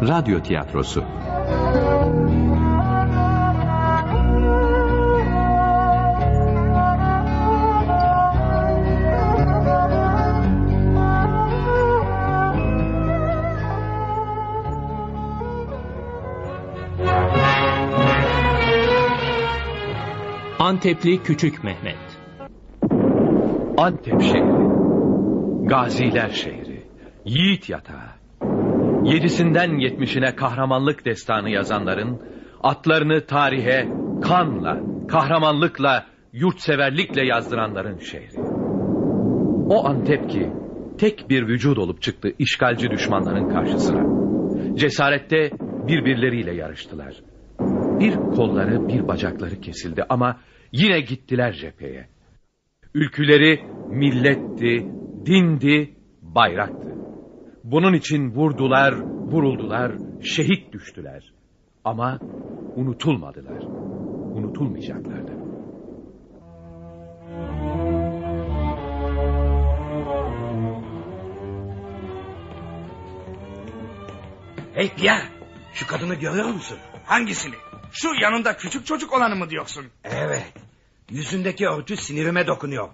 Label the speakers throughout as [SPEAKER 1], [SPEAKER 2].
[SPEAKER 1] Radyo tiyatrosu.
[SPEAKER 2] Antepli Küçük Mehmet
[SPEAKER 3] Antep şehri, gaziler şehri, yiğit yatağı. Yedisinden yetmişine kahramanlık destanı yazanların, atlarını tarihe kanla, kahramanlıkla, yurtseverlikle yazdıranların şehri. O Antep ki tek bir vücut olup çıktı işgalci düşmanların karşısına. Cesarette birbirleriyle yarıştılar. Bir kolları bir bacakları kesildi ama yine gittiler cepheye. Ülküleri milletti, dindi, bayraktı. Bunun için vurdular, vuruldular, şehit düştüler. Ama unutulmadılar. Unutulmayacaklardı.
[SPEAKER 4] Hey Pierre, şu kadını görüyor musun?
[SPEAKER 5] Hangisini? Şu yanında küçük çocuk olanı mı diyorsun?
[SPEAKER 4] Evet. Yüzündeki örtü sinirime dokunuyor.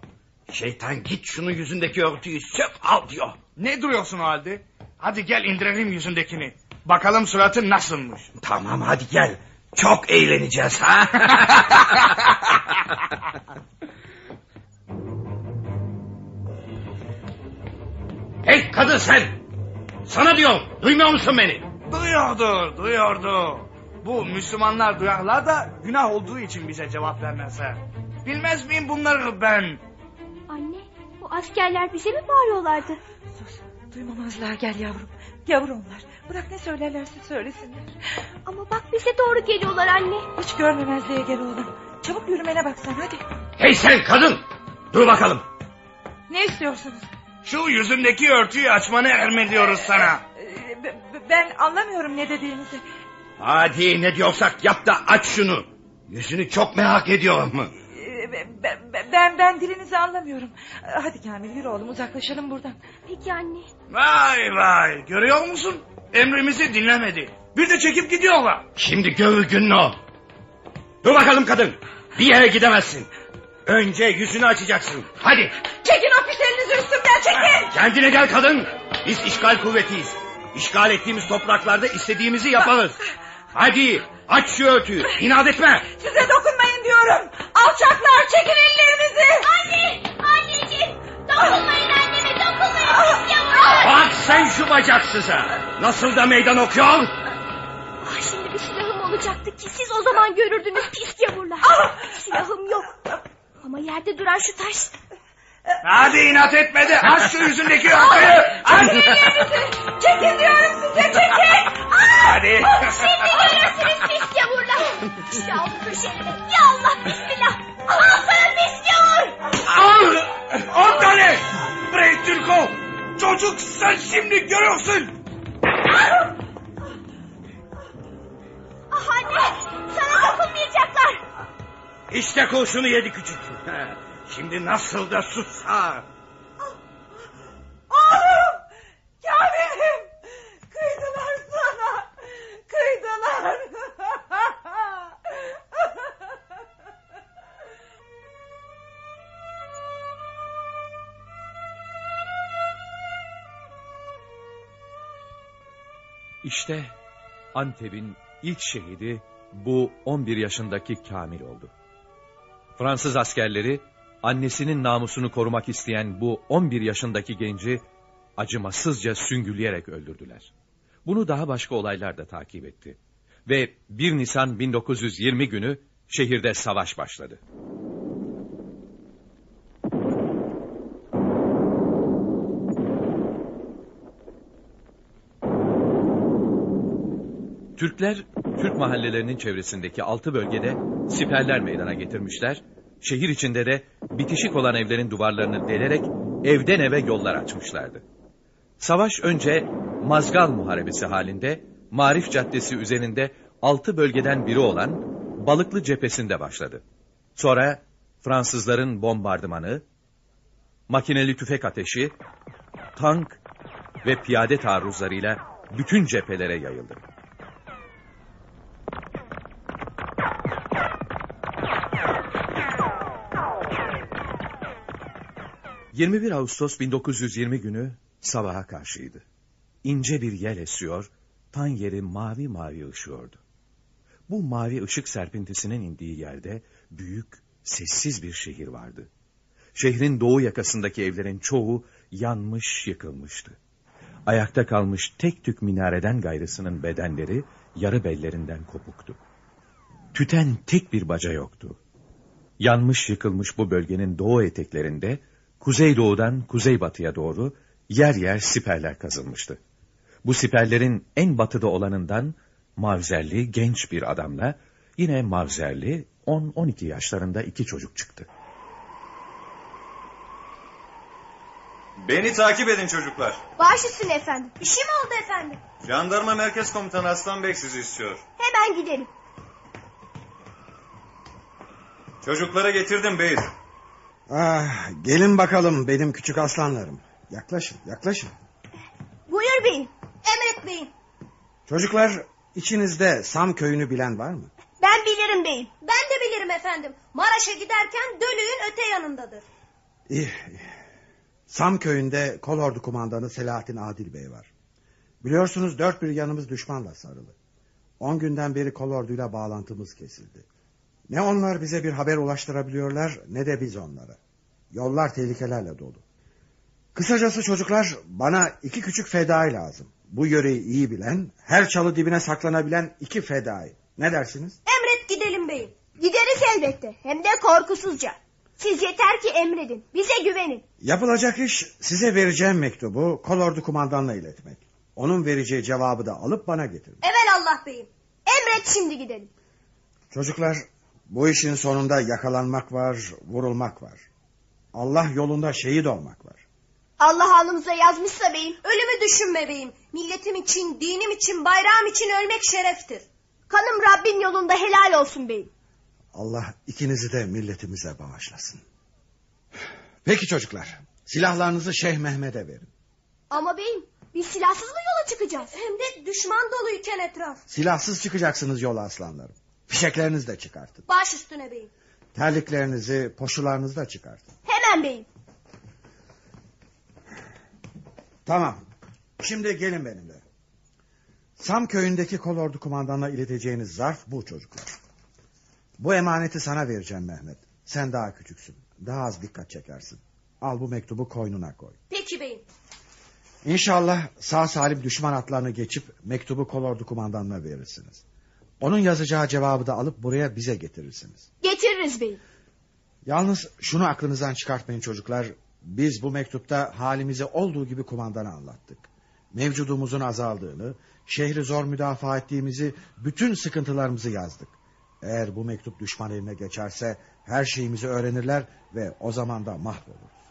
[SPEAKER 4] Şeytan git şunun yüzündeki örtüyü sök al diyor.
[SPEAKER 5] Ne duruyorsun o halde? Hadi gel indirelim yüzündekini. Bakalım suratı nasılmış.
[SPEAKER 4] Tamam hadi gel. Çok eğleneceğiz ha. hey kadın sen. Sana diyorum. Duymuyor musun beni?
[SPEAKER 5] Duyuyordu, duyuyordu. Bu Müslümanlar duyarlar da günah olduğu için bize cevap vermezler. Bilmez miyim bunları ben?
[SPEAKER 6] Anne, bu askerler bize mi bağırıyorlardı?
[SPEAKER 7] Sus, duymamazlar gel yavrum. Yavrum onlar. Bırak ne söylerlerse söylesinler.
[SPEAKER 6] Ama bak bize doğru geliyorlar anne.
[SPEAKER 7] Hiç görmemezliğe gel oğlum. Çabuk yürümene baksan hadi.
[SPEAKER 4] Hey sen kadın. Dur bakalım.
[SPEAKER 7] Ne istiyorsunuz?
[SPEAKER 5] Şu yüzündeki örtüyü açmanı emrediyoruz sana.
[SPEAKER 7] Ee, b- b- ben anlamıyorum ne dediğinizi.
[SPEAKER 4] Hadi ne diyorsak yap da aç şunu. Yüzünü çok merak ediyorum.
[SPEAKER 7] Ee, b- b- b- ben ben dilinizi anlamıyorum. Ee, Hadi Kamil yürü oğlum uzaklaşalım buradan.
[SPEAKER 6] Peki anne.
[SPEAKER 5] Vay vay, görüyor musun? Emrimizi dinlemedi. Bir de çekip gidiyorlar.
[SPEAKER 4] Şimdi göğü günün o. Dur bakalım kadın. Bir yere gidemezsin. Önce yüzünü açacaksın. Hadi
[SPEAKER 7] Çekin o pis elinizi üstümden çekin.
[SPEAKER 4] kendine gel kadın. Biz işgal kuvvetiyiz. İşgal ettiğimiz topraklarda istediğimizi yaparız. Hadi aç şu örtüyü. İnat etme.
[SPEAKER 7] Size dokunmayın diyorum. Alçaklar çekin ellerinizi.
[SPEAKER 6] Anne, anneciğim. Dokunmayın anneme,
[SPEAKER 7] Ah,
[SPEAKER 6] dokunmayın. Yavrum.
[SPEAKER 4] Bak sen şu bacaksıza. Nasıl da meydan okuyor.
[SPEAKER 6] Ah, şimdi bir silahım olacaktı ki siz o zaman görürdünüz pis yavrular.
[SPEAKER 5] Ah!
[SPEAKER 6] Silahım yok. Ama yerde duran şu taş.
[SPEAKER 5] Hadi inat etme de aç şu yüzündeki örtüyü. Aç.
[SPEAKER 7] Çekin diyorum size çekin. Ah.
[SPEAKER 5] Hadi.
[SPEAKER 6] Şimdi görürsünüz pis yavrular. Silahımı köşelime. Ya Allah bismillah. Al sana pis yavur.
[SPEAKER 5] Al! On tane! Bre Türko! Çocuk sen şimdi görürsün!
[SPEAKER 6] Ah anne, sana dokunmayacaklar.
[SPEAKER 4] İşte kurşunu yedi küçük. Şimdi nasıl da susar.
[SPEAKER 7] Oğlum! Kamil'im! Kıydılar sana! Kıydılar!
[SPEAKER 3] İşte Antep'in ilk şehidi bu 11 yaşındaki Kamil oldu. Fransız askerleri annesinin namusunu korumak isteyen bu 11 yaşındaki genci acımasızca süngüleyerek öldürdüler. Bunu daha başka olaylar da takip etti. Ve 1 Nisan 1920 günü şehirde savaş başladı. Türkler Türk mahallelerinin çevresindeki altı bölgede siperler meydana getirmişler. Şehir içinde de bitişik olan evlerin duvarlarını delerek evden eve yollar açmışlardı. Savaş önce Mazgal Muharebesi halinde Marif Caddesi üzerinde altı bölgeden biri olan Balıklı cephesinde başladı. Sonra Fransızların bombardımanı, makineli tüfek ateşi, tank ve piyade taarruzlarıyla bütün cephelere yayıldı. ...21 Ağustos 1920 günü sabaha karşıydı. İnce bir yel esiyor, tan yeri mavi mavi ışıyordu. Bu mavi ışık serpintisinin indiği yerde büyük, sessiz bir şehir vardı. Şehrin doğu yakasındaki evlerin çoğu yanmış, yıkılmıştı. Ayakta kalmış tek tük minareden gayrısının bedenleri yarı bellerinden kopuktu. Tüten tek bir baca yoktu. Yanmış yıkılmış bu bölgenin doğu eteklerinde kuzeydoğudan kuzeybatıya doğru yer yer siperler kazılmıştı. Bu siperlerin en batıda olanından mavzerli genç bir adamla yine mavzerli 10-12 yaşlarında iki çocuk çıktı.
[SPEAKER 1] Beni takip edin çocuklar.
[SPEAKER 6] Baş üstüne efendim. Bir şey mi oldu efendim?
[SPEAKER 1] Jandarma Merkez Komutanı Aslan Bey sizi istiyor.
[SPEAKER 6] Hemen gidelim.
[SPEAKER 1] Çocuklara getirdim beyim.
[SPEAKER 2] Ah, gelin bakalım benim küçük aslanlarım. Yaklaşın, yaklaşın.
[SPEAKER 6] Buyur beyim. Emret beyim.
[SPEAKER 2] Çocuklar, içinizde Sam köyünü bilen var mı?
[SPEAKER 6] Ben bilirim beyim. Ben de bilirim efendim. Maraş'a giderken dönüğün öte yanındadır.
[SPEAKER 2] İyi. iyi. Sam köyünde kolordu kumandanı Selahattin Adil Bey var. Biliyorsunuz dört bir yanımız düşmanla sarılı. On günden beri kolorduyla bağlantımız kesildi. Ne onlar bize bir haber ulaştırabiliyorlar ne de biz onlara. Yollar tehlikelerle dolu. Kısacası çocuklar bana iki küçük fedai lazım. Bu yöreyi iyi bilen, her çalı dibine saklanabilen iki fedai. Ne dersiniz?
[SPEAKER 6] Emret gidelim beyim. Gideriz elbette. Hem de korkusuzca. Siz yeter ki emredin. Bize güvenin.
[SPEAKER 2] Yapılacak iş size vereceğim mektubu kolordu kumandanla iletmek. Onun vereceği cevabı da alıp bana getirmek.
[SPEAKER 6] Evel Allah beyim. Emret şimdi gidelim.
[SPEAKER 2] Çocuklar bu işin sonunda yakalanmak var, vurulmak var. Allah yolunda şehit olmak var.
[SPEAKER 6] Allah alnımıza yazmışsa beyim. Ölümü düşünme beyim. Milletim için, dinim için, bayrağım için ölmek şereftir. Kanım Rabbin yolunda helal olsun beyim.
[SPEAKER 2] Allah ikinizi de milletimize bağışlasın. Peki çocuklar, silahlarınızı Şeyh Mehmet'e verin.
[SPEAKER 6] Ama beyim biz silahsız mı yola çıkacağız? Hem de düşman doluyken etraf.
[SPEAKER 2] Silahsız çıkacaksınız yola aslanlarım. Fişeklerinizi de çıkartın.
[SPEAKER 6] Baş üstüne beyim.
[SPEAKER 2] Terliklerinizi, poşularınızı da çıkartın.
[SPEAKER 6] Hemen beyim.
[SPEAKER 2] Tamam. Şimdi gelin benimle. Sam köyündeki kolordu kumandanına ileteceğiniz zarf bu çocuklar. Bu emaneti sana vereceğim Mehmet. Sen daha küçüksün. Daha az dikkat çekersin. Al bu mektubu koynuna koy.
[SPEAKER 6] Peki beyim.
[SPEAKER 2] İnşallah sağ salim düşman atlarını geçip mektubu kolordu kumandanına verirsiniz. Onun yazacağı cevabı da alıp buraya bize getirirsiniz.
[SPEAKER 6] Getiririz beyim.
[SPEAKER 2] Yalnız şunu aklınızdan çıkartmayın çocuklar. Biz bu mektupta halimizi olduğu gibi kumandana anlattık. Mevcudumuzun azaldığını, şehri zor müdafaa ettiğimizi, bütün sıkıntılarımızı yazdık. Eğer bu mektup düşman eline geçerse her şeyimizi öğrenirler ve o zaman da mahvoluruz.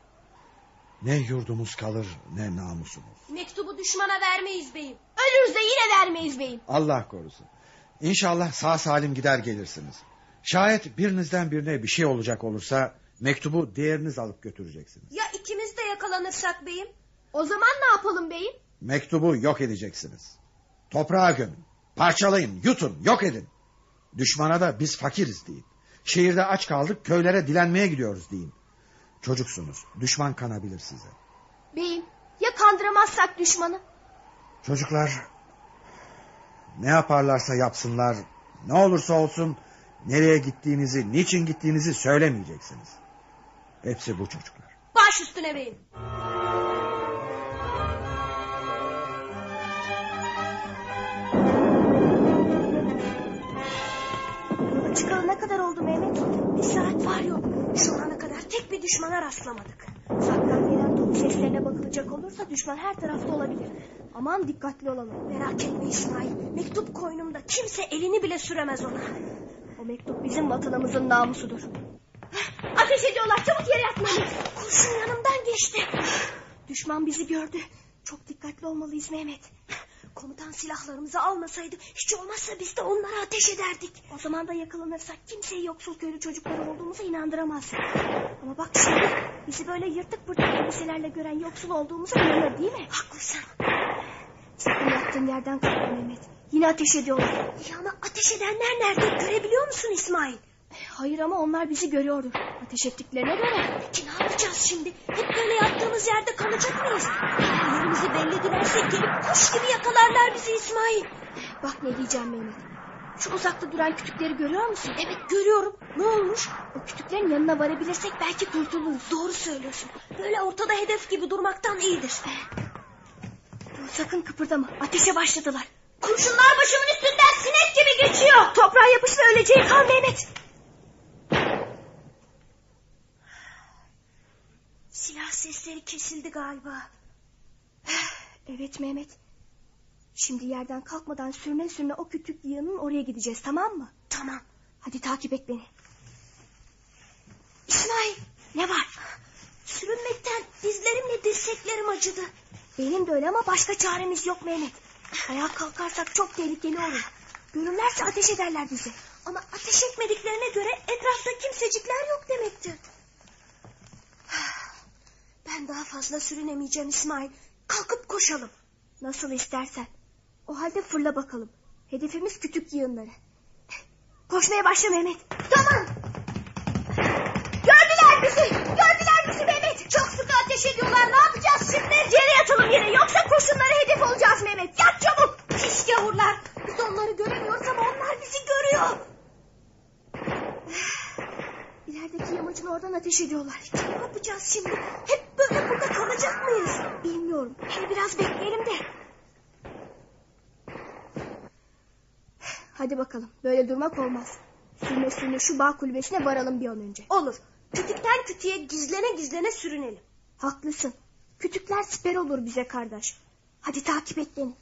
[SPEAKER 2] Ne yurdumuz kalır ne namusumuz.
[SPEAKER 6] Mektubu düşmana vermeyiz beyim. Ölürüz de yine vermeyiz beyim.
[SPEAKER 2] Allah korusun. İnşallah sağ salim gider gelirsiniz. Şayet birinizden birine bir şey olacak olursa mektubu diğeriniz alıp götüreceksiniz.
[SPEAKER 6] Ya ikimiz de yakalanırsak beyim? O zaman ne yapalım beyim?
[SPEAKER 2] Mektubu yok edeceksiniz. Toprağa gömün, parçalayın, yutun, yok edin. Düşmana da biz fakiriz deyin. Şehirde aç kaldık, köylere dilenmeye gidiyoruz deyin. Çocuksunuz, düşman kanabilir size.
[SPEAKER 6] Beyim ya kandıramazsak düşmanı?
[SPEAKER 2] Çocuklar ne yaparlarsa yapsınlar, ne olursa olsun nereye gittiğinizi, niçin gittiğinizi söylemeyeceksiniz. Hepsi bu çocuklar.
[SPEAKER 6] Baş üstüne beyim. Çıkalı ne kadar oldu Mehmet? Bir saat var yok. Şu ana kadar tek bir düşmana rastlamadık. Uzaktan gelen top seslerine bakılacak olursa düşman her tarafta olabilir. Aman dikkatli olalım. Merak etme İsmail. Mektup koynumda. Kimse elini bile süremez ona. O mektup bizim vatanımızın namusudur. Ateş ediyorlar. Çabuk yere yatmalıyız. Kurşun yanımdan geçti. Düşman bizi gördü. Çok dikkatli olmalıyız Mehmet. Komutan silahlarımızı almasaydı hiç olmazsa biz de onlara ateş ederdik. O zaman da yakalanırsak kimseyi yoksul köylü çocukları olduğumuza inandıramaz. Ama bak şimdi bizi böyle yırtık pırtık elbiselerle gören yoksul olduğumuza inanır değil mi? Haklısın. Sakın yattığın yerden kalkma Mehmet. Yine ateş ediyorlar. İyi ama ateş edenler nerede? Görebiliyor musun İsmail? Hayır ama onlar bizi görüyordur. Ateş ettiklerine göre. Peki ne yapacağız şimdi? Hep böyle yattığımız yerde kalacak mıyız? Eğer Yerimizi belli edersek gelip kuş gibi yakalarlar bizi İsmail. Bak ne diyeceğim Mehmet. Şu uzakta duran kütükleri görüyor musun? Evet görüyorum. Ne olmuş? O kütüklerin yanına varabilirsek belki kurtuluruz. Doğru söylüyorsun. Böyle ortada hedef gibi durmaktan iyidir. Dur, sakın kıpırdama. Ateşe başladılar. Kurşunlar başımın üstünden sinek gibi geçiyor. Toprağa yapışsa öleceği kal Mehmet. Silah sesleri kesildi galiba. Eh, Evet Mehmet. Şimdi yerden kalkmadan sürüne sürüne o kütük yığının oraya gideceğiz tamam mı? Tamam. Hadi takip et beni. İsmail ne var? Sürünmekten dizlerimle dirseklerim acıdı. Benim de öyle ama başka çaremiz yok Mehmet. Ayağa kalkarsak çok tehlikeli olur. Görürlerse ateş ederler bizi. Ama ateş etmediklerine göre etrafta kimsecikler yok demektir. Ben daha fazla sürünemeyeceğim İsmail. Kalkıp koşalım. Nasıl istersen. O halde fırla bakalım. Hedefimiz kütük yığınları. Koşmaya başla Mehmet. Tamam. Gördüler bizi. Gördüler bizi Mehmet. Çok sıkı ateş ediyorlar. Ne yapacağız şimdi? Yere yatalım yere. Yoksa kurşunlara hedef olacağız Mehmet. Yat çabuk. Pis gavurlar. Biz onları göremiyoruz ama onlar bizi görüyor. İlerideki yamacın oradan ateş ediyorlar. Ne yapacağız şimdi? Hep böyle burada kalacak mıyız? Bilmiyorum. Hele biraz bekleyelim de. Hadi bakalım. Böyle durmak olmaz. Sürüne sürüne şu bağ kulübesine varalım bir an önce. Olur. Kütükten kütüğe gizlene gizlene sürünelim. Haklısın. Kütükler siper olur bize kardeş. Hadi takip et beni.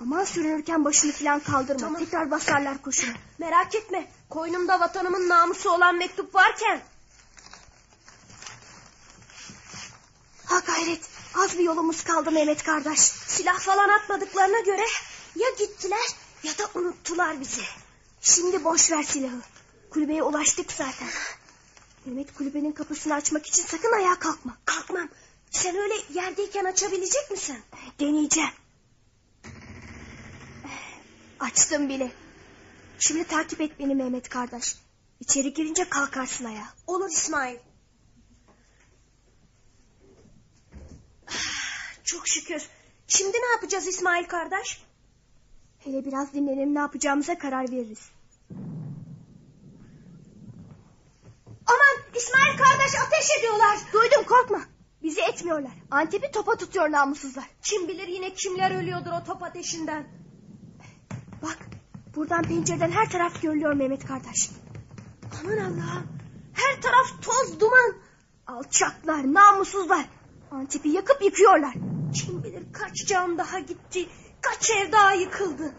[SPEAKER 6] Aman sürünürken başını falan kaldırma. Tekrar basarlar koşuna. Merak etme. Koynumda vatanımın namusu olan mektup varken. Ha gayret. Az bir yolumuz kaldı Mehmet kardeş. Silah falan atmadıklarına göre ya gittiler ya da unuttular bizi. Şimdi boş ver silahı. Kulübeye ulaştık zaten. Mehmet kulübenin kapısını açmak için sakın ayağa kalkma. Kalkmam. Sen öyle yerdeyken açabilecek misin? Deneyeceğim. Açtım bile. Şimdi takip et beni Mehmet kardeş. İçeri girince kalkarsın ayağa. Olur İsmail. Çok şükür. Şimdi ne yapacağız İsmail kardeş? Hele biraz dinlenelim ne yapacağımıza karar veririz. Aman İsmail kardeş ateş ediyorlar. Duydum korkma. Bizi etmiyorlar. Antep'i topa tutuyor namussuzlar. Kim bilir yine kimler ölüyordur o top ateşinden. Bak buradan pencereden her taraf görülüyor Mehmet kardeş. Aman Allah'ım. Her taraf toz duman. Alçaklar, namussuzlar. Antep'i yakıp yıkıyorlar. Kim bilir kaç cam daha gitti. Kaç ev daha yıkıldı.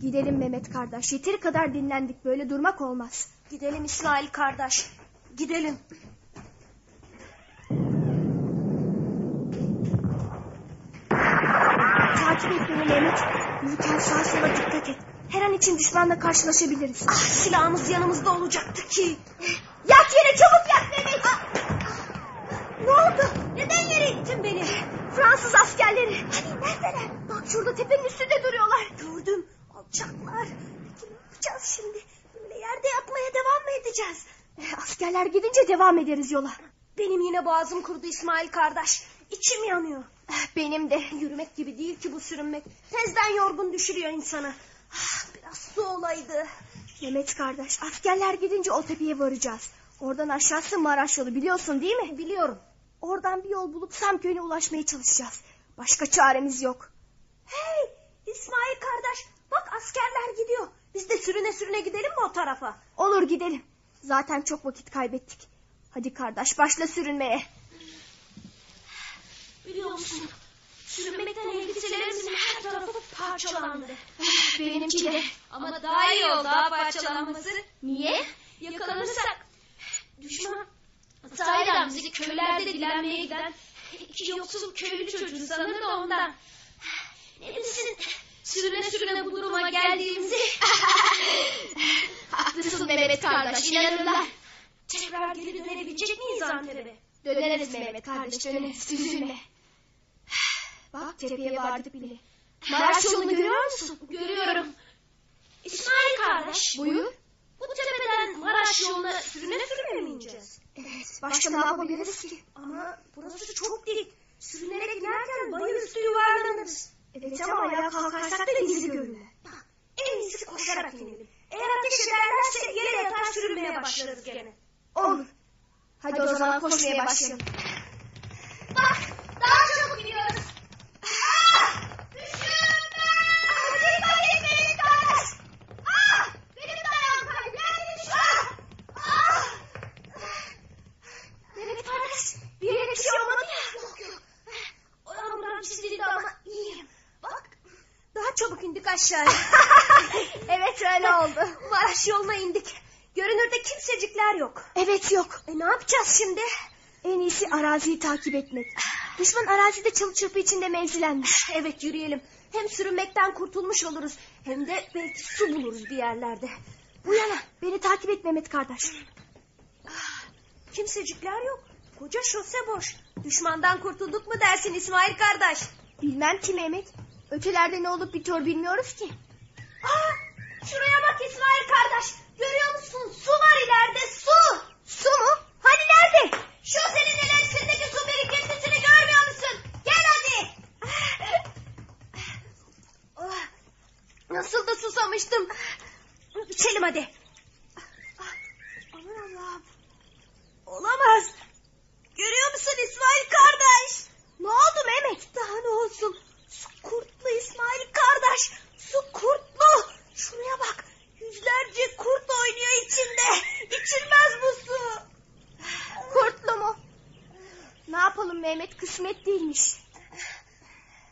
[SPEAKER 6] Gidelim Mehmet kardeş. Yeteri kadar dinlendik. Böyle durmak olmaz. Gidelim İsmail kardeş. Gidelim. Takip et beni Mehmet. Yürürken sağa sola dikkat et. Her an için düşmanla karşılaşabiliriz. Ah silahımız yanımızda olacaktı ki. Yat yere çabuk yat Mehmet. Ah! Ne oldu? Neden yere ittin beni? Fransız askerleri. Hani neredeler? Bak şurada tepenin üstünde duruyorlar. Gördüm. Alçaklar. Peki ne yapacağız şimdi? Böyle yerde yatmaya devam mı edeceğiz? askerler gidince devam ederiz yola. Benim yine boğazım kurudu İsmail kardeş. İçim yanıyor. Ah, Benim de. Yürümek gibi değil ki bu sürünmek. Tezden yorgun düşürüyor insanı. Ah, Biraz su olaydı. Mehmet kardeş askerler gidince o tepeye varacağız. Oradan aşağısı Maraş yolu biliyorsun değil mi? Biliyorum. Oradan bir yol bulup Samköy'üne ulaşmaya çalışacağız. Başka çaremiz yok. Hey İsmail kardeş bak askerler gidiyor. Biz de sürüne sürüne gidelim mi o tarafa? Olur gidelim. Zaten çok vakit kaybettik. Hadi kardeş başla sürünmeye. Biliyor musun? Sürünmekten elbiselerimizin her tarafı parçalandı. Benimki de.
[SPEAKER 8] Ama daha iyi oldu ha parçalanması. Niye? Yakalanırsak düşman sahiden bizi köylerde dilenmeye giden iki yoksul köylü çocuğu sanır da ondan. Ne bilsin sürüne sürüne bu duruma geldiğimizi. Haklısın Mehmet kardeş inanırlar. Tekrar geri dönebilecek miyiz Antep'e? Döneriz Mehmet kardeş döneriz üzülme.
[SPEAKER 6] Bak cepheye vardık bile. Maraş yolunu görüyor musun?
[SPEAKER 8] Görüyorum. İsmail kardeş
[SPEAKER 6] Buyur.
[SPEAKER 8] bu tepeden Maraş yoluna sürüne sürüne mi ineceğiz?
[SPEAKER 6] Evet. Başka ne yapabiliriz ki? Ama burası çok dik. Sürünerek inerken bayır üstü yuvarlanırız. Evet ama ayağa kalkarsak da denizi görürler. Bak en iyisi koşarak inelim. Eğer ateş ederlerse yere yatar sürünmeye başlarız gene. Olur. Hadi, o zaman koşmaya başlayalım.
[SPEAKER 8] Bak daha çabuk gidiyoruz. Düşünme! Hadi bak ekmeğini kardeş. Ah! Benim de ayağım kaydı. Yerde düştüm. Ah!
[SPEAKER 6] Mehmet kardeş bir yere bir şey olmadı ya. Yok yok. Oran buram çizildi ama iyiyim. Bak daha çabuk indik aşağıya. evet öyle oldu. Maraş yoluna indik. Görünürde kimsecikler yok. Evet yok. E ne yapacağız şimdi? En iyisi araziyi takip etmek. Düşman arazide çalı çırpı içinde mevzilenmiş. Evet yürüyelim. Hem sürünmekten kurtulmuş oluruz. Hem de belki su buluruz bir yerlerde. Bu yana beni takip et Mehmet kardeş. Kimsecikler yok. Koca şose boş. Düşmandan kurtulduk mu dersin İsmail kardeş? Bilmem ki Mehmet. Ötelerde ne olup bitiyor bilmiyoruz ki. Ah, Aa, şuraya bak İsmail kardeş. Görüyor musun? Su var ileride su. Su mu? Hani nerede? Şosenin ilerisindeki su birikintisini görmüyor musun? Gel hadi. Ah, Nasıl da susamıştım. İçelim hadi. Aman Allah'ım. Olamaz. Görüyor musun İsmail kardeş? Ne oldu Mehmet? Daha ne olsun? Su kurtlu İsmail kardeş. Su kurtlu. Şuraya bak. Yüzlerce kurt oynuyor içinde. İçilmez bu su. Kurtlu mu? Ne yapalım Mehmet kısmet değilmiş.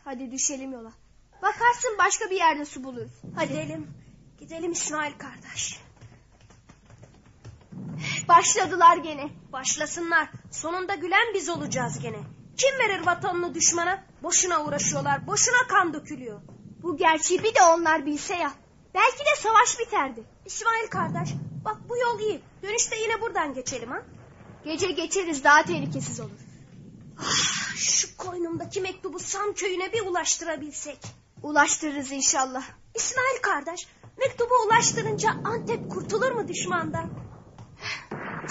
[SPEAKER 6] Hadi düşelim yola. Bakarsın başka bir yerde su buluruz. Hadi. Gidelim. Gidelim İsmail kardeş. Başladılar gene. Başlasınlar. Sonunda gülen biz olacağız gene. Kim verir vatanını düşmana? Boşuna uğraşıyorlar. Boşuna kan dökülüyor. Bu gerçeği bir de onlar bilse ya. Belki de savaş biterdi. İsmail kardeş bak bu yol iyi. Dönüşte yine buradan geçelim ha. Gece geçeriz daha tehlikesiz olur. Ah, şu koynumdaki mektubu Sam köyüne bir ulaştırabilsek. Ulaştırırız inşallah. İsmail kardeş mektubu ulaştırınca Antep kurtulur mu düşmandan?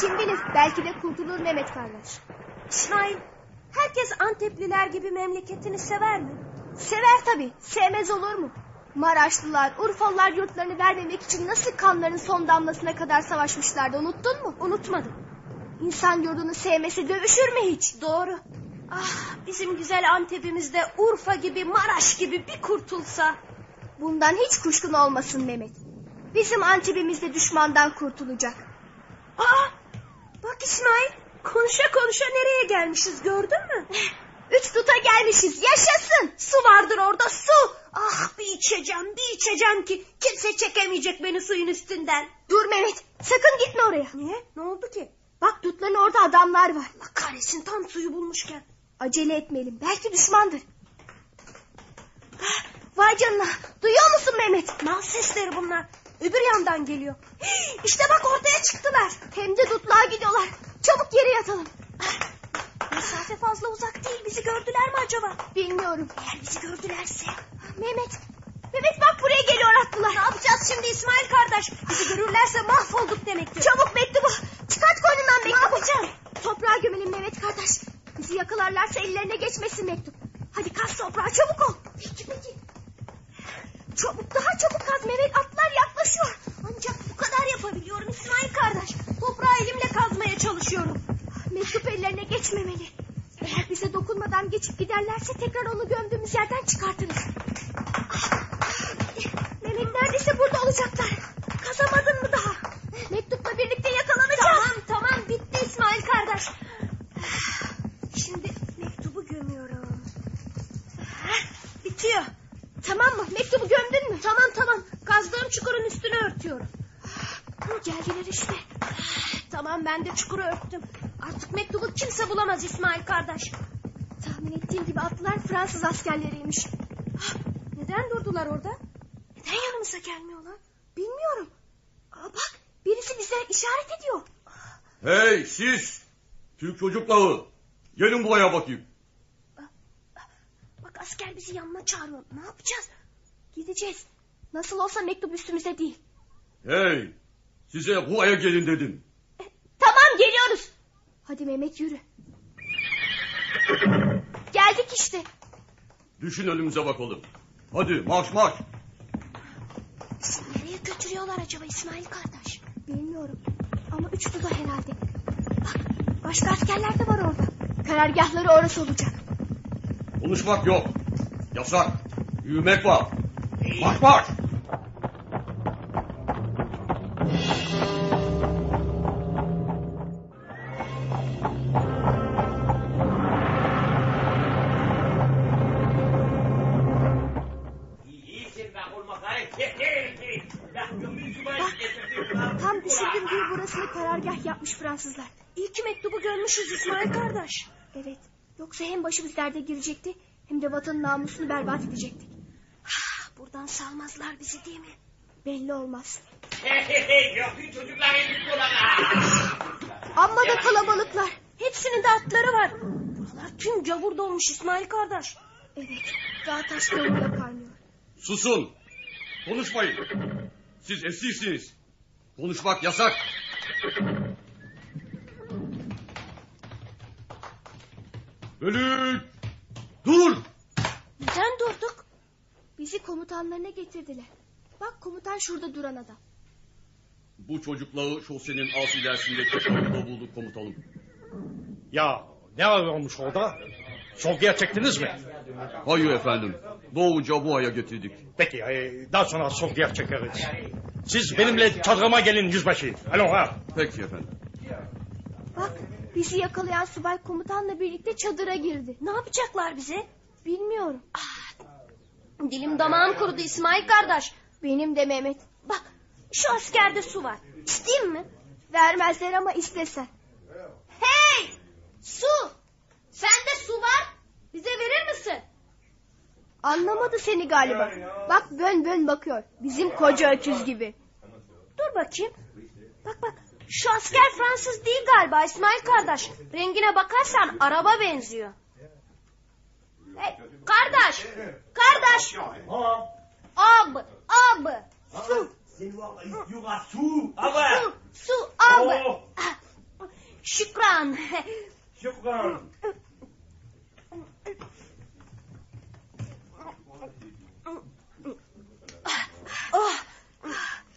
[SPEAKER 6] Kim bilir belki de kurtulur Mehmet kardeş. İsmail herkes Antepliler gibi memleketini sever mi? Sever tabi sevmez olur mu? Maraşlılar, Urfalılar yurtlarını vermemek için nasıl kanların son damlasına kadar savaşmışlardı unuttun mu? Unutmadım. İnsan yurdunu sevmesi dövüşür mü hiç? Doğru. Ah bizim güzel Antep'imizde Urfa gibi Maraş gibi bir kurtulsa. Bundan hiç kuşkun olmasın Mehmet. Bizim Antep'imizde düşmandan kurtulacak. Aa, bak İsmail. Konuşa konuşa nereye gelmişiz gördün mü? Üç tuta gelmişiz yaşasın. Su vardır orada su. Ah bir içeceğim bir içeceğim ki kimse çekemeyecek beni suyun üstünden. Dur Mehmet sakın gitme oraya. Niye ne oldu ki? Bak tutların orada adamlar var. Allah kahretsin tam suyu bulmuşken. Acele etmeyelim belki düşmandır. Ah, Vay canına. Duyuyor musun Mehmet? Mal sesleri bunlar. Öbür yandan geliyor. Hii, İşte bak ortaya çıktılar. Hem de dutluğa gidiyorlar. Çabuk yere yatalım. Mesafe fazla uzak değil. Bizi gördüler mi acaba? Bilmiyorum. Eğer bizi gördülerse. Mehmet. Mehmet bak buraya geliyor atlılar. Ne yapacağız şimdi İsmail kardeş? Bizi görürlerse mahvolduk demektir. Çabuk mektubu. Çıkart koynundan mektubu. Ne yapacağım? Toprağa gömelim Mehmet kardeş. Bizi yakalarlarsa ellerine geçmesin mektup. Hadi kaz toprağa çabuk ol. Peki peki. Çabuk daha çabuk kaz Mehmet atlar yaklaşıyor. Ancak bu kadar yapabiliyorum İsmail kardeş. Toprağı elimle kazmaya çalışıyorum. Mektup ellerine geçmemeli. Eğer bize dokunmadan geçip giderlerse tekrar onu gömdüğümüz yerden çıkartırız. Ah, Mehmet neredeyse burada olacaklar. Kazamadın mı daha? Mektupla birlikte yakalanacağız. Tamam tamam bitti İsmail kardeş. Şimdi mektubu gömüyorum. Heh, Bitiyor. Tamam mı? Mektubu gömdün mü? Tamam tamam. Kazdığım çukurun üstünü örtüyorum. Bu Geldiler işte. Tamam ben de çukuru örttüm. Artık mektubu kimse bulamaz İsmail kardeş. Tahmin ettiğim gibi atlılar Fransız askerleriymiş. Ah, Neden durdular orada? Neden yanımıza gelmiyorlar? Bilmiyorum. Aa, bak birisi bize işaret ediyor.
[SPEAKER 4] Hey siz! Türk çocukları! Gelin buraya bakayım.
[SPEAKER 6] Bak Artık asker bizi yanına çağırıyor. Ne yapacağız? Gideceğiz. Nasıl olsa mektup üstümüze değil.
[SPEAKER 9] Hey size Hua'ya gelin dedim.
[SPEAKER 6] Tamam geliyoruz. Hadi Mehmet yürü. Geldik işte.
[SPEAKER 9] Düşün önümüze bakalım. Hadi marş marş.
[SPEAKER 6] Bizi nereye götürüyorlar acaba İsmail kardeş? Bilmiyorum. Ama üç duda herhalde. Bak başka askerler de var orada. Karargahları orası olacak.
[SPEAKER 9] Konuşmak yok. Yasak. Yürümek var. Marş marş.
[SPEAKER 6] Tam düşündüğüm gibi burasını karargah yapmış Fransızlar. İyi ki mektubu görmüşüz İsmail kardeş. Evet. Yoksa hem başımız derde girecekti hem de vatanın namusunu berbat edecektik. Ah, buradan salmazlar bizi değil mi? Belli olmaz. Amma da kalabalıklar. Hepsinin de atları var. Buralar tüm gavur dolmuş İsmail kardeş. Evet. Daha taş gavurla kaynıyor.
[SPEAKER 9] Susun. Konuşmayın. Siz esirsiniz. Konuşmak yasak. Bölük. Dur.
[SPEAKER 6] Neden durduk? Bizi komutanlarına getirdiler. Bak komutan şurada duran adam.
[SPEAKER 9] Bu çocukları şosenin az ilerisindeki koyunda bulduk komutanım.
[SPEAKER 10] Ya ne olmuş orada? Sorguya çektiniz mi?
[SPEAKER 9] Hayır efendim. Doğuca bu aya getirdik.
[SPEAKER 10] Peki e, daha sonra sorguya çekeriz. Siz benimle çadrama gelin yüzbaşı. Alo ha.
[SPEAKER 9] Peki efendim.
[SPEAKER 6] Bak bizi yakalayan subay komutanla birlikte çadıra girdi.
[SPEAKER 7] Ne yapacaklar bize? Ah,
[SPEAKER 6] Bilmiyorum.
[SPEAKER 7] Dilim damağım kurudu İsmail kardeş.
[SPEAKER 6] Benim de Mehmet.
[SPEAKER 7] Bak şu askerde su var. İsteyeyim mi?
[SPEAKER 6] Vermezler ama istesen.
[SPEAKER 7] Hey! Su! Sende su var. Bize verir misin?
[SPEAKER 6] Anlamadı seni galiba. Bak bön bön bakıyor. Bizim koca öküz gibi.
[SPEAKER 7] Dur bakayım. Bak bak. Şu asker Fransız değil galiba İsmail kardeş. Rengine bakarsan araba benziyor. Hey, kardeş. Kardeş. Abi. Abi. Su. Su. Su. Abi. Şükran. Oh,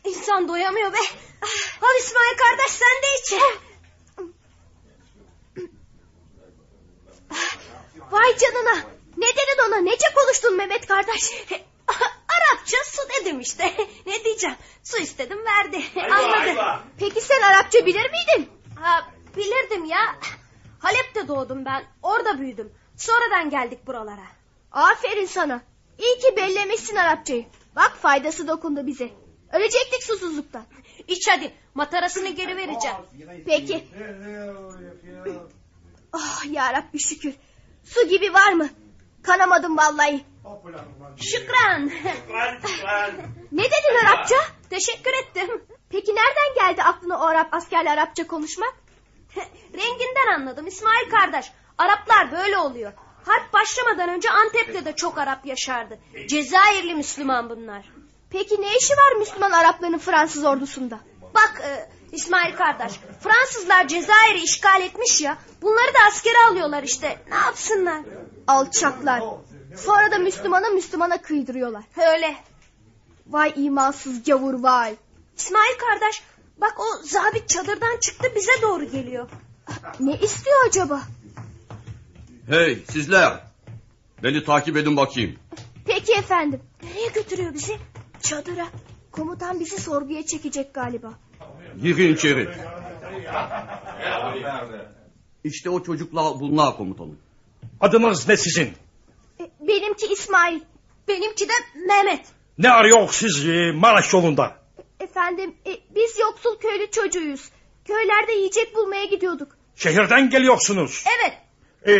[SPEAKER 7] insan doyamıyor be. Al İsmail kardeş sen de iç.
[SPEAKER 6] Vay canına. Ne dedin ona? Nece konuştun Mehmet kardeş?
[SPEAKER 7] Arapça su dedim işte. Ne diyeceğim? Su istedim verdi. Anladı.
[SPEAKER 6] Peki sen Arapça bilir miydin?
[SPEAKER 7] Ha, bilirdim ya. Halep'te doğdum ben. Orada büyüdüm. Sonradan geldik buralara.
[SPEAKER 6] Aferin sana. İyi ki bellemişsin Arapçayı. Bak faydası dokundu bize. Ölecektik susuzluktan.
[SPEAKER 7] İç hadi. Matarasını geri vereceğim.
[SPEAKER 6] Peki. Oh yarabbi şükür. Su gibi var mı? Kanamadım vallahi.
[SPEAKER 7] Şükran.
[SPEAKER 6] Ne dedin Arapça?
[SPEAKER 7] Teşekkür ettim.
[SPEAKER 6] Peki nereden geldi aklına o Arap askerle Arapça konuşmak?
[SPEAKER 7] Renginden anladım İsmail kardeş. Araplar böyle oluyor. Harp başlamadan önce Antep'te de çok Arap yaşardı. Cezayirli Müslüman bunlar.
[SPEAKER 6] Peki ne işi var Müslüman Arapların Fransız ordusunda?
[SPEAKER 7] Bak e, İsmail kardeş Fransızlar Cezayir'i işgal etmiş ya. Bunları da askere alıyorlar işte. Ne yapsınlar?
[SPEAKER 6] Alçaklar. Sonra da Müslümana Müslümana kıydırıyorlar.
[SPEAKER 7] Öyle.
[SPEAKER 6] Vay imansız gavur vay.
[SPEAKER 7] İsmail kardeş bak o zabit çadırdan çıktı bize doğru geliyor.
[SPEAKER 6] Ne istiyor acaba?
[SPEAKER 9] Hey sizler. Beni takip edin bakayım.
[SPEAKER 6] Peki efendim.
[SPEAKER 7] Nereye götürüyor bizi?
[SPEAKER 6] Çadıra. Komutan bizi sorguya çekecek galiba.
[SPEAKER 9] Girin içeri. İşte o çocuklar bunlar komutanım.
[SPEAKER 10] Adınız ne sizin?
[SPEAKER 6] E, Benimki İsmail.
[SPEAKER 7] Benimki de Mehmet.
[SPEAKER 10] Ne arıyor siz e, Maraş yolunda?
[SPEAKER 6] Efendim e, biz yoksul köylü çocuğuyuz. Köylerde yiyecek bulmaya gidiyorduk.
[SPEAKER 10] Şehirden geliyorsunuz.
[SPEAKER 7] Evet
[SPEAKER 10] E,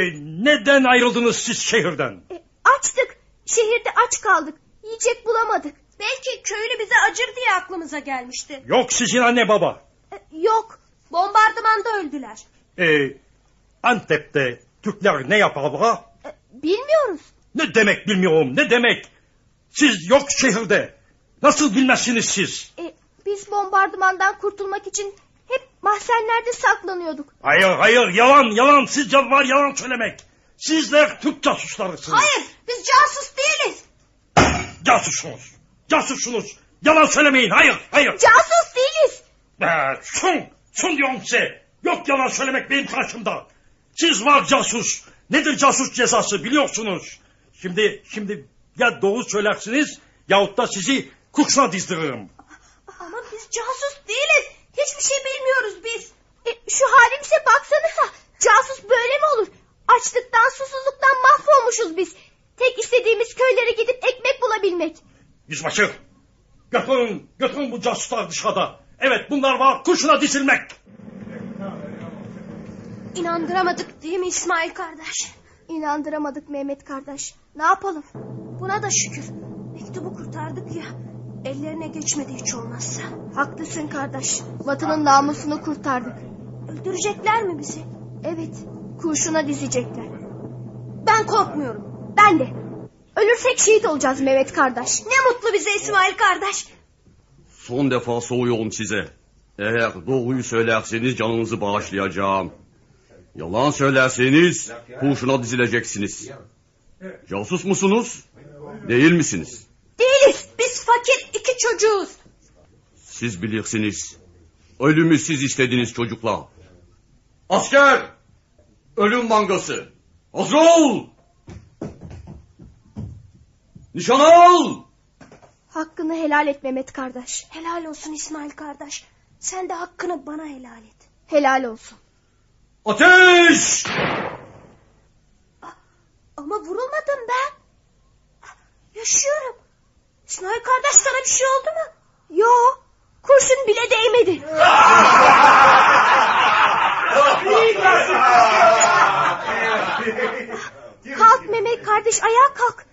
[SPEAKER 10] neden ayrıldınız siz şehirden?
[SPEAKER 6] E, açtık. Şehirde aç kaldık. Yiyecek bulamadık.
[SPEAKER 7] belki köylü bize acır diye aklımıza gelmişti.
[SPEAKER 10] Yok sizin anne baba.
[SPEAKER 6] E, yok.
[SPEAKER 7] Bombardımanda öldüler.
[SPEAKER 10] E, Antep'te Türkler ne yapar bura?
[SPEAKER 6] E, bilmiyoruz.
[SPEAKER 10] Ne demek bilmiyorum ne demek. Siz yok şehirde. Nasıl bilmezsiniz siz?
[SPEAKER 6] E, biz bombardımandan kurtulmak için hep mahzenlerde saklanıyorduk.
[SPEAKER 10] Hayır hayır yalan yalan sizce var yalan söylemek. Sizler Türk casuslarısınız.
[SPEAKER 6] biz casus değiliz.
[SPEAKER 10] Casussunuz. Casussunuz. Yalan söylemeyin hayır hayır.
[SPEAKER 6] Casus değiliz.
[SPEAKER 10] Ha, sun, sun diyorum size. Yok yalan söylemek benim karşımda. Siz var casus. Nedir casus cezası biliyorsunuz. Şimdi şimdi ya doğru söylersiniz yahut da sizi kuşuna dizdiririm.
[SPEAKER 6] Ama biz casus değiliz. Hiçbir şey bilmiyoruz biz. E, şu halimize baksanıza. Casus böyle mi olur? Açlıktan, susuzluktan mahvolmuşuz biz. Tek istediğimiz köylere gidip ekmek bulabilmek.
[SPEAKER 10] Yüzbaşı götürün götürün bu casuslar dışarıda. Evet bunlar var kuşuna dizilmek.
[SPEAKER 6] İnandıramadık değil mi İsmail kardeş? İnandıramadık Mehmet kardeş. Ne yapalım? Buna da şükür. Mektubu kurtardık ya. Ellerine geçmedi hiç olmazsa. Haklısın kardeş. Vatanın namusunu kurtardık. Öldürecekler mi bizi? Evet. Kurşuna dizecekler. Ben korkmuyorum. Ben de. Ölürsek şehit olacağız Mehmet kardeş. Ne mutlu bize İsmail kardeş.
[SPEAKER 9] Son defa soruyorum size. Eğer doğruyu söylerseniz canınızı bağışlayacağım. Yalan söylerseniz kurşuna dizileceksiniz. Casus musunuz? Değil misiniz?
[SPEAKER 6] Değiliz. Biz fakir iki çocuğuz.
[SPEAKER 9] Siz bilirsiniz. Ölümü siz istediniz çocuklar. Asker! Ölüm mangası! Hazır ol! Nişan al!
[SPEAKER 6] Hakkını helal et Mehmet kardeş. Helal olsun İsmail kardeş. Sen de hakkını bana helal et. Helal olsun.
[SPEAKER 9] Ateş!
[SPEAKER 6] Ama vurulmadım ben. Yaşıyorum. İsmail kardeş sana bir şey oldu mu? Yo. Kurşun bile değmedi. kalk Mehmet kardeş ayağa kalk.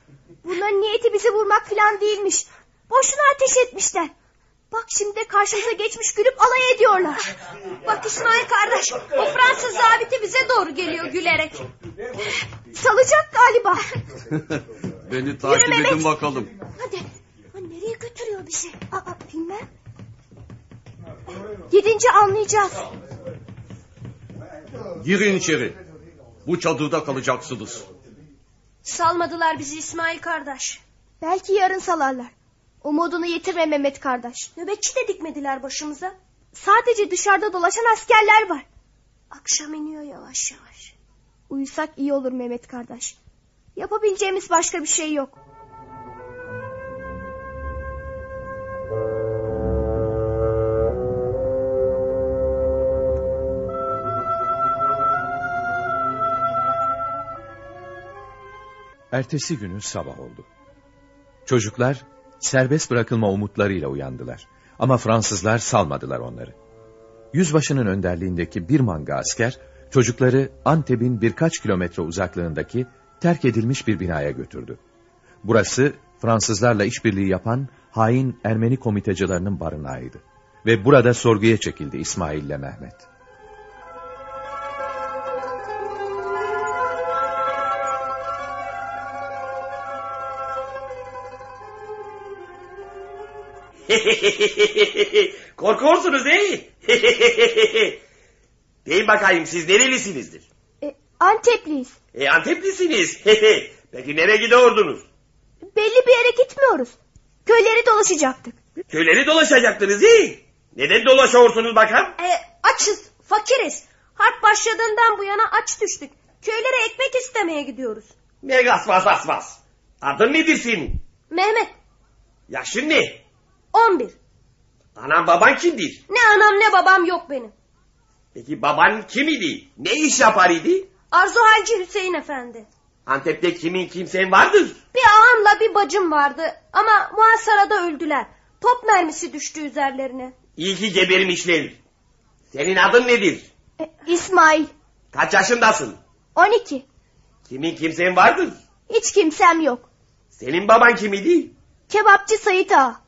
[SPEAKER 6] Bunların niyeti bizi vurmak falan değilmiş. Boşuna ateş etmişler. Bak şimdi de karşımıza geçmiş gülüp alay ediyorlar. Bak İsmail kardeş o Fransız zabiti bize doğru geliyor gülerek. Salacak galiba.
[SPEAKER 9] Beni takip
[SPEAKER 6] Mehmet.
[SPEAKER 9] edin bakalım.
[SPEAKER 6] Hadi. Ha, nereye götürüyor bizi? Aa, bilmem. Gidince anlayacağız.
[SPEAKER 9] Girin içeri. Bu çadırda kalacaksınız.
[SPEAKER 6] Salmadılar bizi İsmail kardeş. Belki yarın salarlar. Umudunu yitirme Mehmet kardeş. Nöbetçi de dikmediler başımıza. Sadece dışarıda dolaşan askerler var. Akşam iniyor yavaş yavaş. Uyusak iyi olur Mehmet kardeş. Yapabileceğimiz başka bir şey yok.
[SPEAKER 3] Ertesi günü sabah oldu. Çocuklar serbest bırakılma umutlarıyla uyandılar. Ama Fransızlar salmadılar onları. Yüzbaşının önderliğindeki bir manga asker çocukları Antep'in birkaç kilometre uzaklığındaki terk edilmiş bir binaya götürdü. Burası Fransızlarla işbirliği yapan hain Ermeni komitecilerinin barınağıydı. Ve burada sorguya çekildi İsmail ile Mehmet.
[SPEAKER 4] Korkuyorsunuz değil mi? Deyin bakayım siz nerelisinizdir?
[SPEAKER 6] E, Antepliyiz.
[SPEAKER 4] E, Anteplisiniz. Peki nereye gidiyordunuz?
[SPEAKER 6] Belli bir yere gitmiyoruz. Köyleri dolaşacaktık.
[SPEAKER 4] Köyleri dolaşacaktınız değil Neden dolaşıyorsunuz bakalım?
[SPEAKER 6] E, açız, fakiriz. Harp başladığından bu yana aç düştük. Köylere ekmek istemeye gidiyoruz.
[SPEAKER 4] Ne gasvas asvas. Adın nedir senin?
[SPEAKER 6] Mehmet,
[SPEAKER 4] Yaşın ne?
[SPEAKER 6] 11.
[SPEAKER 4] Anan baban kimdir?
[SPEAKER 6] Ne anam ne babam yok benim.
[SPEAKER 4] Peki baban kim idi? Ne iş yapar idi?
[SPEAKER 6] Arzu Halci Hüseyin Efendi.
[SPEAKER 4] Antep'te kimin kimsen vardır?
[SPEAKER 6] Bir ağamla bir bacım vardı ama muhasarada öldüler. Top mermisi düştü üzerlerine.
[SPEAKER 4] İyi ki gebermişler. Senin adın nedir?
[SPEAKER 6] E, İsmail,
[SPEAKER 4] Kaç yaşındasın?
[SPEAKER 6] 12.
[SPEAKER 4] Kimin kimsen vardır?
[SPEAKER 6] Hiç kimsem yok.
[SPEAKER 4] Senin baban kim idi?
[SPEAKER 6] Kebapçı Sait Ağa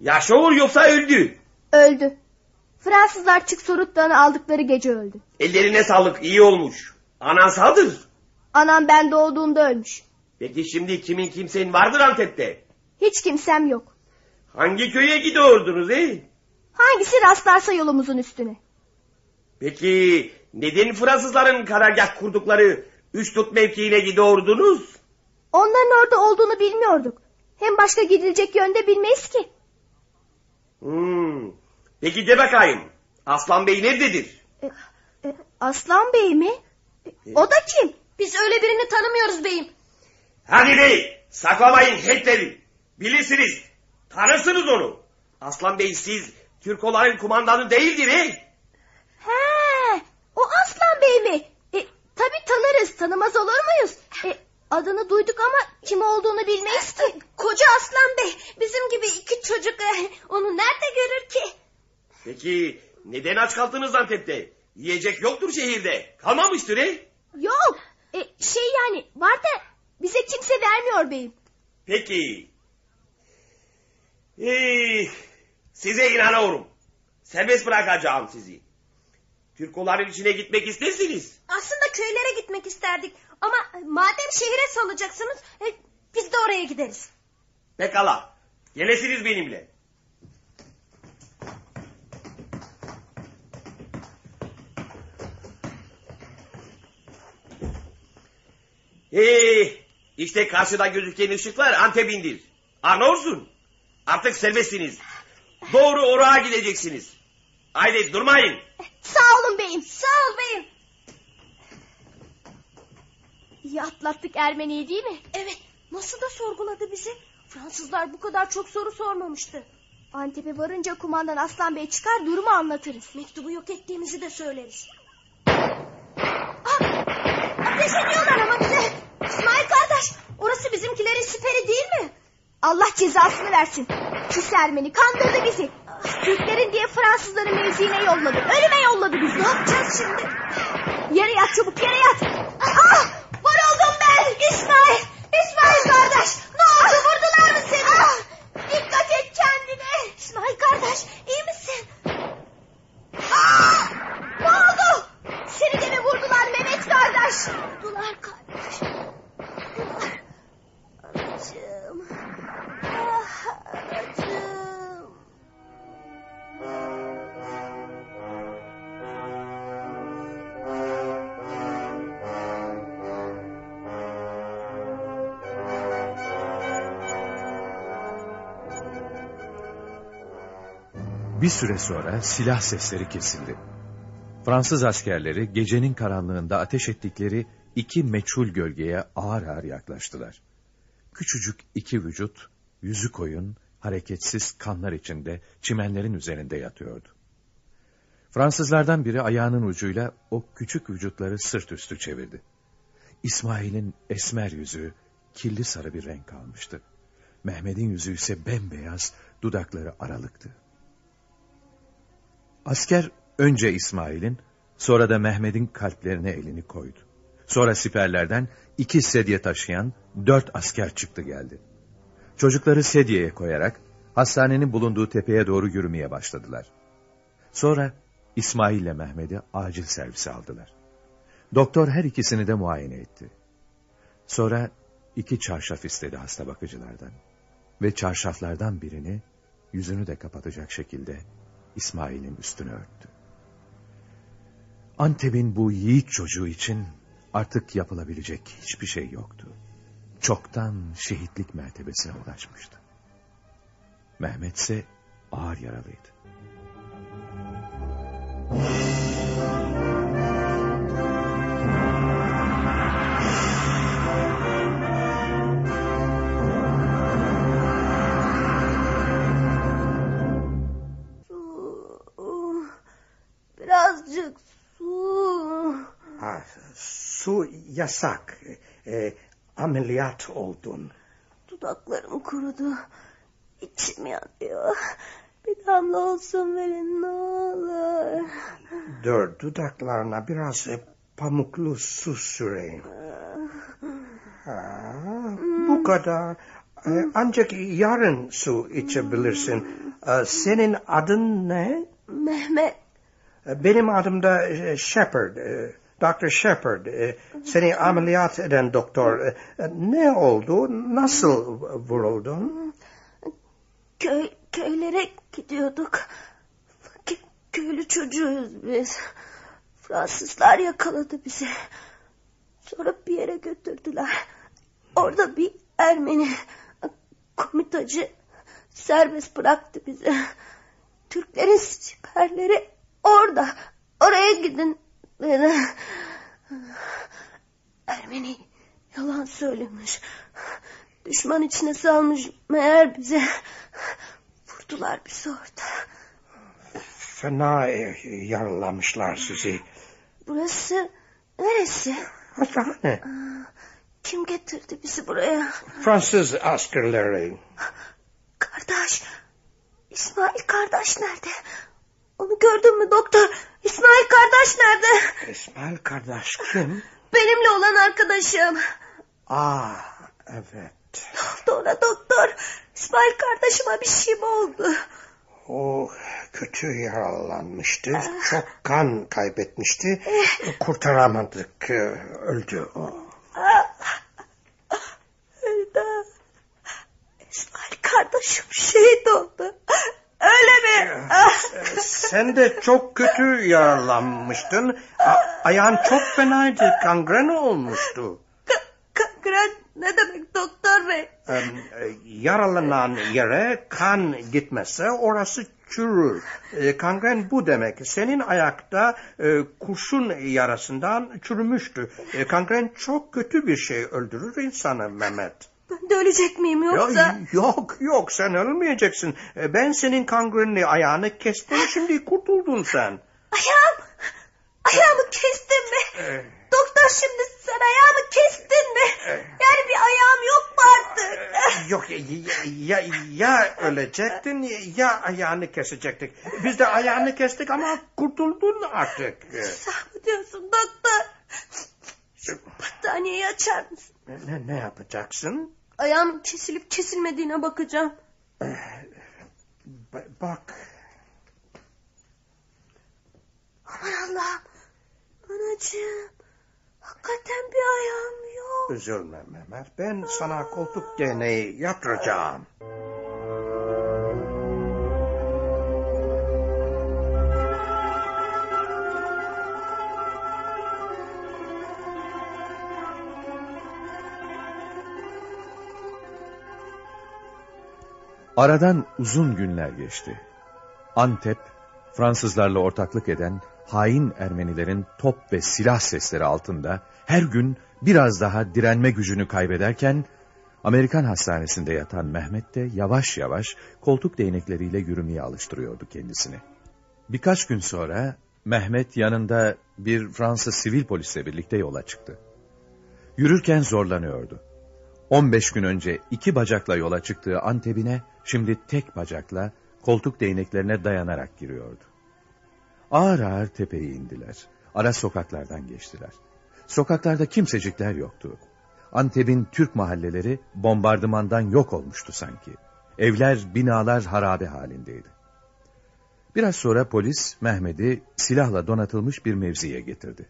[SPEAKER 4] Yaşa olur yoksa öldü.
[SPEAKER 6] öldü. Fransızlar çık Sorut Dağı'nı aldıkları gece öldü.
[SPEAKER 4] Ellerine sağlık iyi olmuş. Anan sağdır.
[SPEAKER 6] Anam ben doğduğumda ölmüş.
[SPEAKER 11] Peki şimdi kimin kimsenin vardır Antep'te?
[SPEAKER 6] Hiç kimsem yok.
[SPEAKER 11] Hangi köye gidiyordunuz ey?
[SPEAKER 6] Hangisi rastlarsa yolumuzun üstüne.
[SPEAKER 11] Peki neden Fransızların karargah kurdukları üç tut mevkiine gidiyordunuz?
[SPEAKER 6] Onların orada olduğunu bilmiyorduk. Hem başka gidilecek yönde bilmeyiz ki.
[SPEAKER 11] Hmm. Peki de bakayım. Aslan Bey nerededir?
[SPEAKER 6] Aslan Bey mi? O da kim? Biz öyle birini tanımıyoruz beyim.
[SPEAKER 11] Hadi bey saklamayın hekleri. Bilirsiniz. Tanırsınız onu. Aslan Bey siz Türk olanın kumandanı değildir ey.
[SPEAKER 6] He, o Aslan Bey mi? E, tabii tanırız, tanımaz olur muyuz? E, adını duyduk ama kim olduğunu bilmeyiz ki.
[SPEAKER 8] E, Koca Aslan Bey bizim gibi iki çocuk eh, onu nerede görür ki?
[SPEAKER 11] Peki neden aç kaldınız Antep'te? Yiyecek yoktur şehirde. Kalmamıştır ey.
[SPEAKER 6] Yok, e, şey yani var da bize kimse vermiyor beyim.
[SPEAKER 11] Peki. Ee, size inanıyorum. Serbest bırakacağım sizi. Türkoların içine gitmek istersiniz.
[SPEAKER 8] Aslında köylere gitmek isterdik ama madem şehire salacaksınız eh, biz de oraya gideriz.
[SPEAKER 11] Pekala. Gelesiniz benimle. Ee, işte karşıda gözüken ışıklar Antep'indir. Anlıyorsun. Artık serbestsiniz. Doğru oraya gideceksiniz. Haydi durmayın.
[SPEAKER 6] Sağ olun beyim.
[SPEAKER 8] Sağ ol beyim.
[SPEAKER 6] İyi atlattık Ermeni'yi değil mi?
[SPEAKER 8] Evet nasıl da sorguladı bizi. Fransızlar bu kadar çok soru sormamıştı.
[SPEAKER 6] Antep'e varınca kumandan Aslan Bey çıkar durumu anlatırız.
[SPEAKER 8] Mektubu yok ettiğimizi de söyleriz.
[SPEAKER 6] Ah, Ateş ediyorlar ama bize. İsmail kardeş orası bizimkilerin siperi değil mi? Allah cezasını versin. Pis Ermeni kandırdı bizi. Türklerin diye Fransızların mevziine yolladı. Ölüme yolladı bizi. Ne yapacağız şimdi? Yere yat çabuk yere yat. Ah! Vuruldum ben. İsmail. İsmail kardeş. Ne oldu vurdular mı seni? Ah! Dikkat et kendine. İsmail kardeş iyi misin? Ah! Ne oldu? Seni de mi vurdular Mehmet kardeş?
[SPEAKER 8] Vurdular kardeş. Vurdular. Anacığım. Ah anacığım.
[SPEAKER 3] Bir süre sonra silah sesleri kesildi. Fransız askerleri gecenin karanlığında ateş ettikleri iki meçhul gölgeye ağır ağır yaklaştılar. Küçücük iki vücut, yüzü koyun, hareketsiz kanlar içinde çimenlerin üzerinde yatıyordu. Fransızlardan biri ayağının ucuyla o küçük vücutları sırt üstü çevirdi. İsmail'in esmer yüzü kirli sarı bir renk almıştı. Mehmet'in yüzü ise bembeyaz, dudakları aralıktı. Asker önce İsmail'in, sonra da Mehmet'in kalplerine elini koydu. Sonra siperlerden iki sedye taşıyan dört asker çıktı geldi. Çocukları sedyeye koyarak hastanenin bulunduğu tepeye doğru yürümeye başladılar. Sonra İsmail ile Mehmet'i acil servise aldılar. Doktor her ikisini de muayene etti. Sonra iki çarşaf istedi hasta bakıcılardan. Ve çarşaflardan birini yüzünü de kapatacak şekilde İsmail'in üstünü örttü. Antep'in bu yiğit çocuğu için artık yapılabilecek hiçbir şey yoktu. Çoktan şehitlik mertebesine ulaşmıştı. Mehmet ise ağır yaralıydı.
[SPEAKER 8] Su. Birazcık su.
[SPEAKER 12] Ha, su yasak. E, ameliyat oldun.
[SPEAKER 8] Dudaklarım kurudu. İçim yanıyor. Bir damla olsun verin ne olur.
[SPEAKER 12] Dur dudaklarına biraz e, pamuklu su süreyim. Ha, bu kadar. E, ancak yarın su içebilirsin. E, senin adın ne?
[SPEAKER 8] Mehmet
[SPEAKER 12] E, Benim adım da e, Shepard. E, Dr. Shepard, e, seni ameliyat eden doktor e, ne oldu, nasıl vuruldun?
[SPEAKER 6] Köy, köylere gidiyorduk. Kö- köylü çocuğuyuz biz. Fransızlar yakaladı bizi. Sonra bir yere götürdüler. Orada bir Ermeni komitacı serbest bıraktı bizi. Türklerin siperleri orada. Oraya gidin dedi. Ermeni yalan söylemiş. Düşman içine salmış meğer bize. Vurdular bizi orada.
[SPEAKER 12] Fena e, yaralamışlar sizi.
[SPEAKER 6] Burası neresi?
[SPEAKER 12] Hastane.
[SPEAKER 6] Kim getirdi bizi buraya?
[SPEAKER 12] Fransız askerleri.
[SPEAKER 6] Kardeş. İsmail kardeş nerede? Onu gördün mü doktor? İsmail kardeş nerede?
[SPEAKER 12] İsmail kardeş kim?
[SPEAKER 6] Benimle olan arkadaşım.
[SPEAKER 12] Aa, Ah, evet.
[SPEAKER 6] Doktora doktor. İsmail kardeşime bir şey mi oldu?
[SPEAKER 12] O kötü yaralanmıştı. Çok kan kaybetmişti. Kurtaramadık. e, Öldü. O.
[SPEAKER 6] Eda. İsmail kardeşim şehit oldu. Öyle mi? Ah,
[SPEAKER 12] Sen de çok kötü yaralanmıştın. A- ayağın çok fenaydı. Kangren olmuştu.
[SPEAKER 6] Kangren ne demek doktor bey?
[SPEAKER 12] Em, e, yaralanan yere kan gitmese orası çürür. E, kangren bu demek. Senin ayakta e, kurşun yarasından çürümüştü. E, kangren çok kötü bir şey öldürür insanı Mehmet.
[SPEAKER 6] Ben de ölecek miyim
[SPEAKER 12] Ya,
[SPEAKER 6] yoksa?
[SPEAKER 12] yok yok sen ölmeyeceksin. E, Ben senin kangrenli ayağını kestim şimdi kurtuldun sen.
[SPEAKER 6] Ayağım. Ayağımı kestin mi?
[SPEAKER 12] E,
[SPEAKER 6] Doktor şimdi sen ayağımı kestin mi? Yani bir ayağım yok mu artık?
[SPEAKER 12] Yok ya, ya, ya ölecektin ya ayağını kesecektik. Biz de ayağını kestik ama kurtuldun artık. E,
[SPEAKER 6] Ne diyorsun doktor? Şu battaniyeyi açar mısın?
[SPEAKER 12] Ne, ne yapacaksın?
[SPEAKER 6] Ayağım kesilip kesilmediğine bakacağım.
[SPEAKER 12] Ba- Bak
[SPEAKER 6] Aman Allah'ım. Anacığım. Hakikaten bir ayağım yok.
[SPEAKER 12] üzülme Mehmet ben sana koltuk deneyi yaptıracağım.
[SPEAKER 3] Aradan uzun günler geçti. Antep, Fransızlarla ortaklık eden hain Ermenilerin top ve silah sesleri altında her gün biraz daha direnme gücünü kaybederken Amerikan hastanesinde yatan Mehmet de yavaş yavaş koltuk değnekleriyle yürümeye alıştırıyordu kendisini. Birkaç gün sonra Mehmet yanında bir Fransız sivil polisle birlikte yola çıktı. Yürürken zorlanıyordu. 15 gün önce iki bacakla yola çıktığı Antep'ine şimdi tek bacakla koltuk değneklerine dayanarak giriyordu. Ağır ağır tepeye indiler. Ara sokaklardan geçtiler. Sokaklarda kimsecikler yoktu. Antep'in Türk mahalleleri bombardımandan yok olmuştu sanki. Evler, binalar harabe halindeydi. Biraz sonra polis Mehmet'i silahla donatılmış bir mevziye getirdi.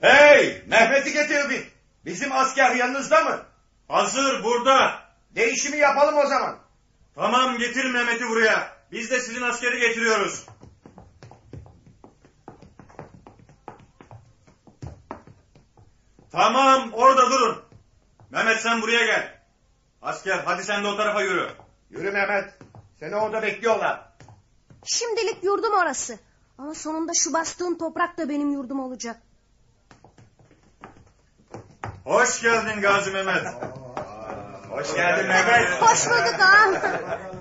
[SPEAKER 11] Hey Mehmet'i getirdik. Bizim asker yanınızda mı? Hazır burada. Değişimi yapalım o zaman.
[SPEAKER 1] Tamam getirin Mehmet'i buraya. Biz de sizin askeri getiriyoruz. Tamam orada durun. Mehmet sen buraya gel. Asker hadi sen de o tarafa yürü.
[SPEAKER 11] Yürü Mehmet. Seni orada bekliyorlar.
[SPEAKER 6] Şimdilik yurdum orası. Ama sonunda şu bastığın toprak da benim yurdum olacak.
[SPEAKER 1] Hoş geldin Gazi Mehmet.
[SPEAKER 11] Hoş geldin Mehmet.
[SPEAKER 6] Hoş bulduk ağam.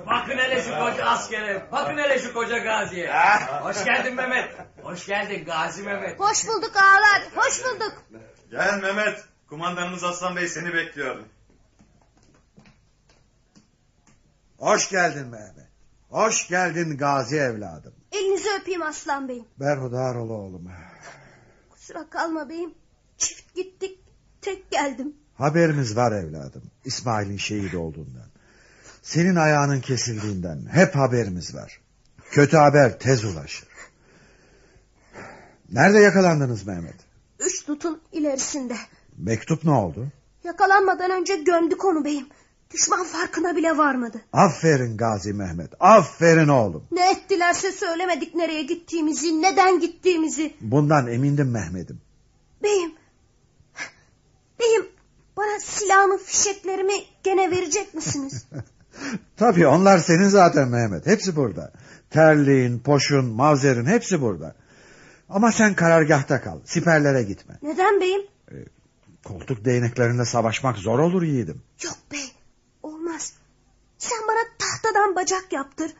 [SPEAKER 13] Bakın hele şu koca askere. Bakın hele şu koca gaziye. Hoş geldin Mehmet. Hoş geldin Gazi Mehmet.
[SPEAKER 6] Hoş bulduk ağalar. Hoş bulduk.
[SPEAKER 1] Gel Mehmet. Kumandanımız Aslan Bey seni bekliyordu.
[SPEAKER 2] Hoş geldin Mehmet. Hoş geldin Gazi evladım.
[SPEAKER 6] Elinizi öpeyim aslan beyim.
[SPEAKER 2] Berhudar ol oğlum.
[SPEAKER 6] Kusura kalma beyim. Çift gittik. Tek geldim.
[SPEAKER 2] Haberimiz var evladım. İsmail'in şehit olduğundan. Senin ayağının kesildiğinden hep haberimiz var. Kötü haber tez ulaşır. Nerede yakalandınız Mehmet?
[SPEAKER 6] Üç tutun ilerisinde.
[SPEAKER 2] Mektup ne oldu?
[SPEAKER 6] Yakalanmadan önce gömdü konu beyim. Düşman farkına bile varmadı.
[SPEAKER 2] Aferin Gazi Mehmet. Aferin oğlum.
[SPEAKER 6] Ne ettilerse söylemedik nereye gittiğimizi, neden gittiğimizi.
[SPEAKER 2] Bundan emindim Mehmet'im.
[SPEAKER 6] Beyim, beyim bana silahımı, fişeklerimi gene verecek misiniz?
[SPEAKER 2] Tabii onlar senin zaten Mehmet. Hepsi burada. Terliğin, poşun, mavzerin hepsi burada. Ama sen karargahta kal. Siperlere gitme.
[SPEAKER 6] neden beyim?
[SPEAKER 2] Koltuk değneklerinde savaşmak zor olur yiğidim.
[SPEAKER 6] Yok bey, olmaz. Sen bana tahtadan bacak yaptır.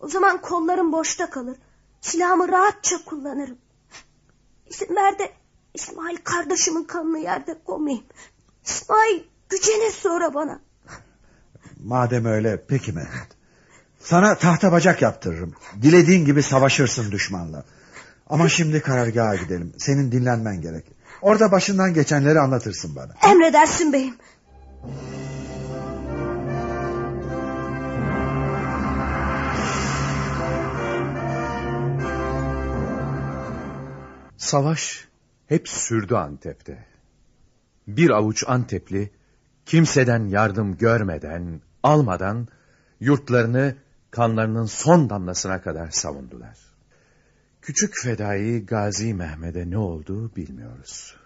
[SPEAKER 6] O zaman kollarım boşta kalır. Silahımı rahatça kullanırım. İzin ver de İsmail kardeşimin kanını yerde koymayayım. İsmail gücenir sonra bana.
[SPEAKER 2] Madem öyle peki Mehmet. Sana tahta bacak yaptırırım. Dilediğin gibi savaşırsın düşmanla. Ama şimdi karargaha gidelim. Senin dinlenmen gerek. Orada başından geçenleri anlatırsın bana.
[SPEAKER 6] Emredersin beyim.
[SPEAKER 3] Savaş hep sürdü Antep'te. Bir avuç Antepli kimseden yardım görmeden, almadan yurtlarını kanlarının son damlasına kadar savundular. Küçük fedai Gazi Mehmet'e ne oldu bilmiyoruz.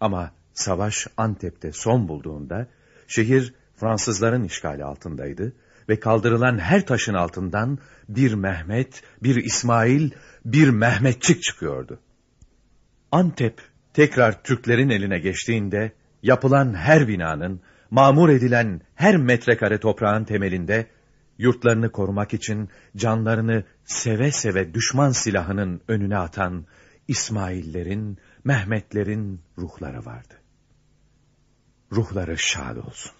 [SPEAKER 3] Ama savaş Antep'te son bulduğunda şehir Fransızların işgali altındaydı ve kaldırılan her taşın altından bir Mehmet, bir İsmail, bir Mehmetçik çıkıyordu. Antep tekrar Türklerin eline geçtiğinde yapılan her binanın, mamur edilen her metrekare toprağın temelinde yurtlarını korumak için canlarını seve seve düşman silahının önüne atan İsmaillerin, Mehmetlerin ruhları vardı. Ruhları şad olsun.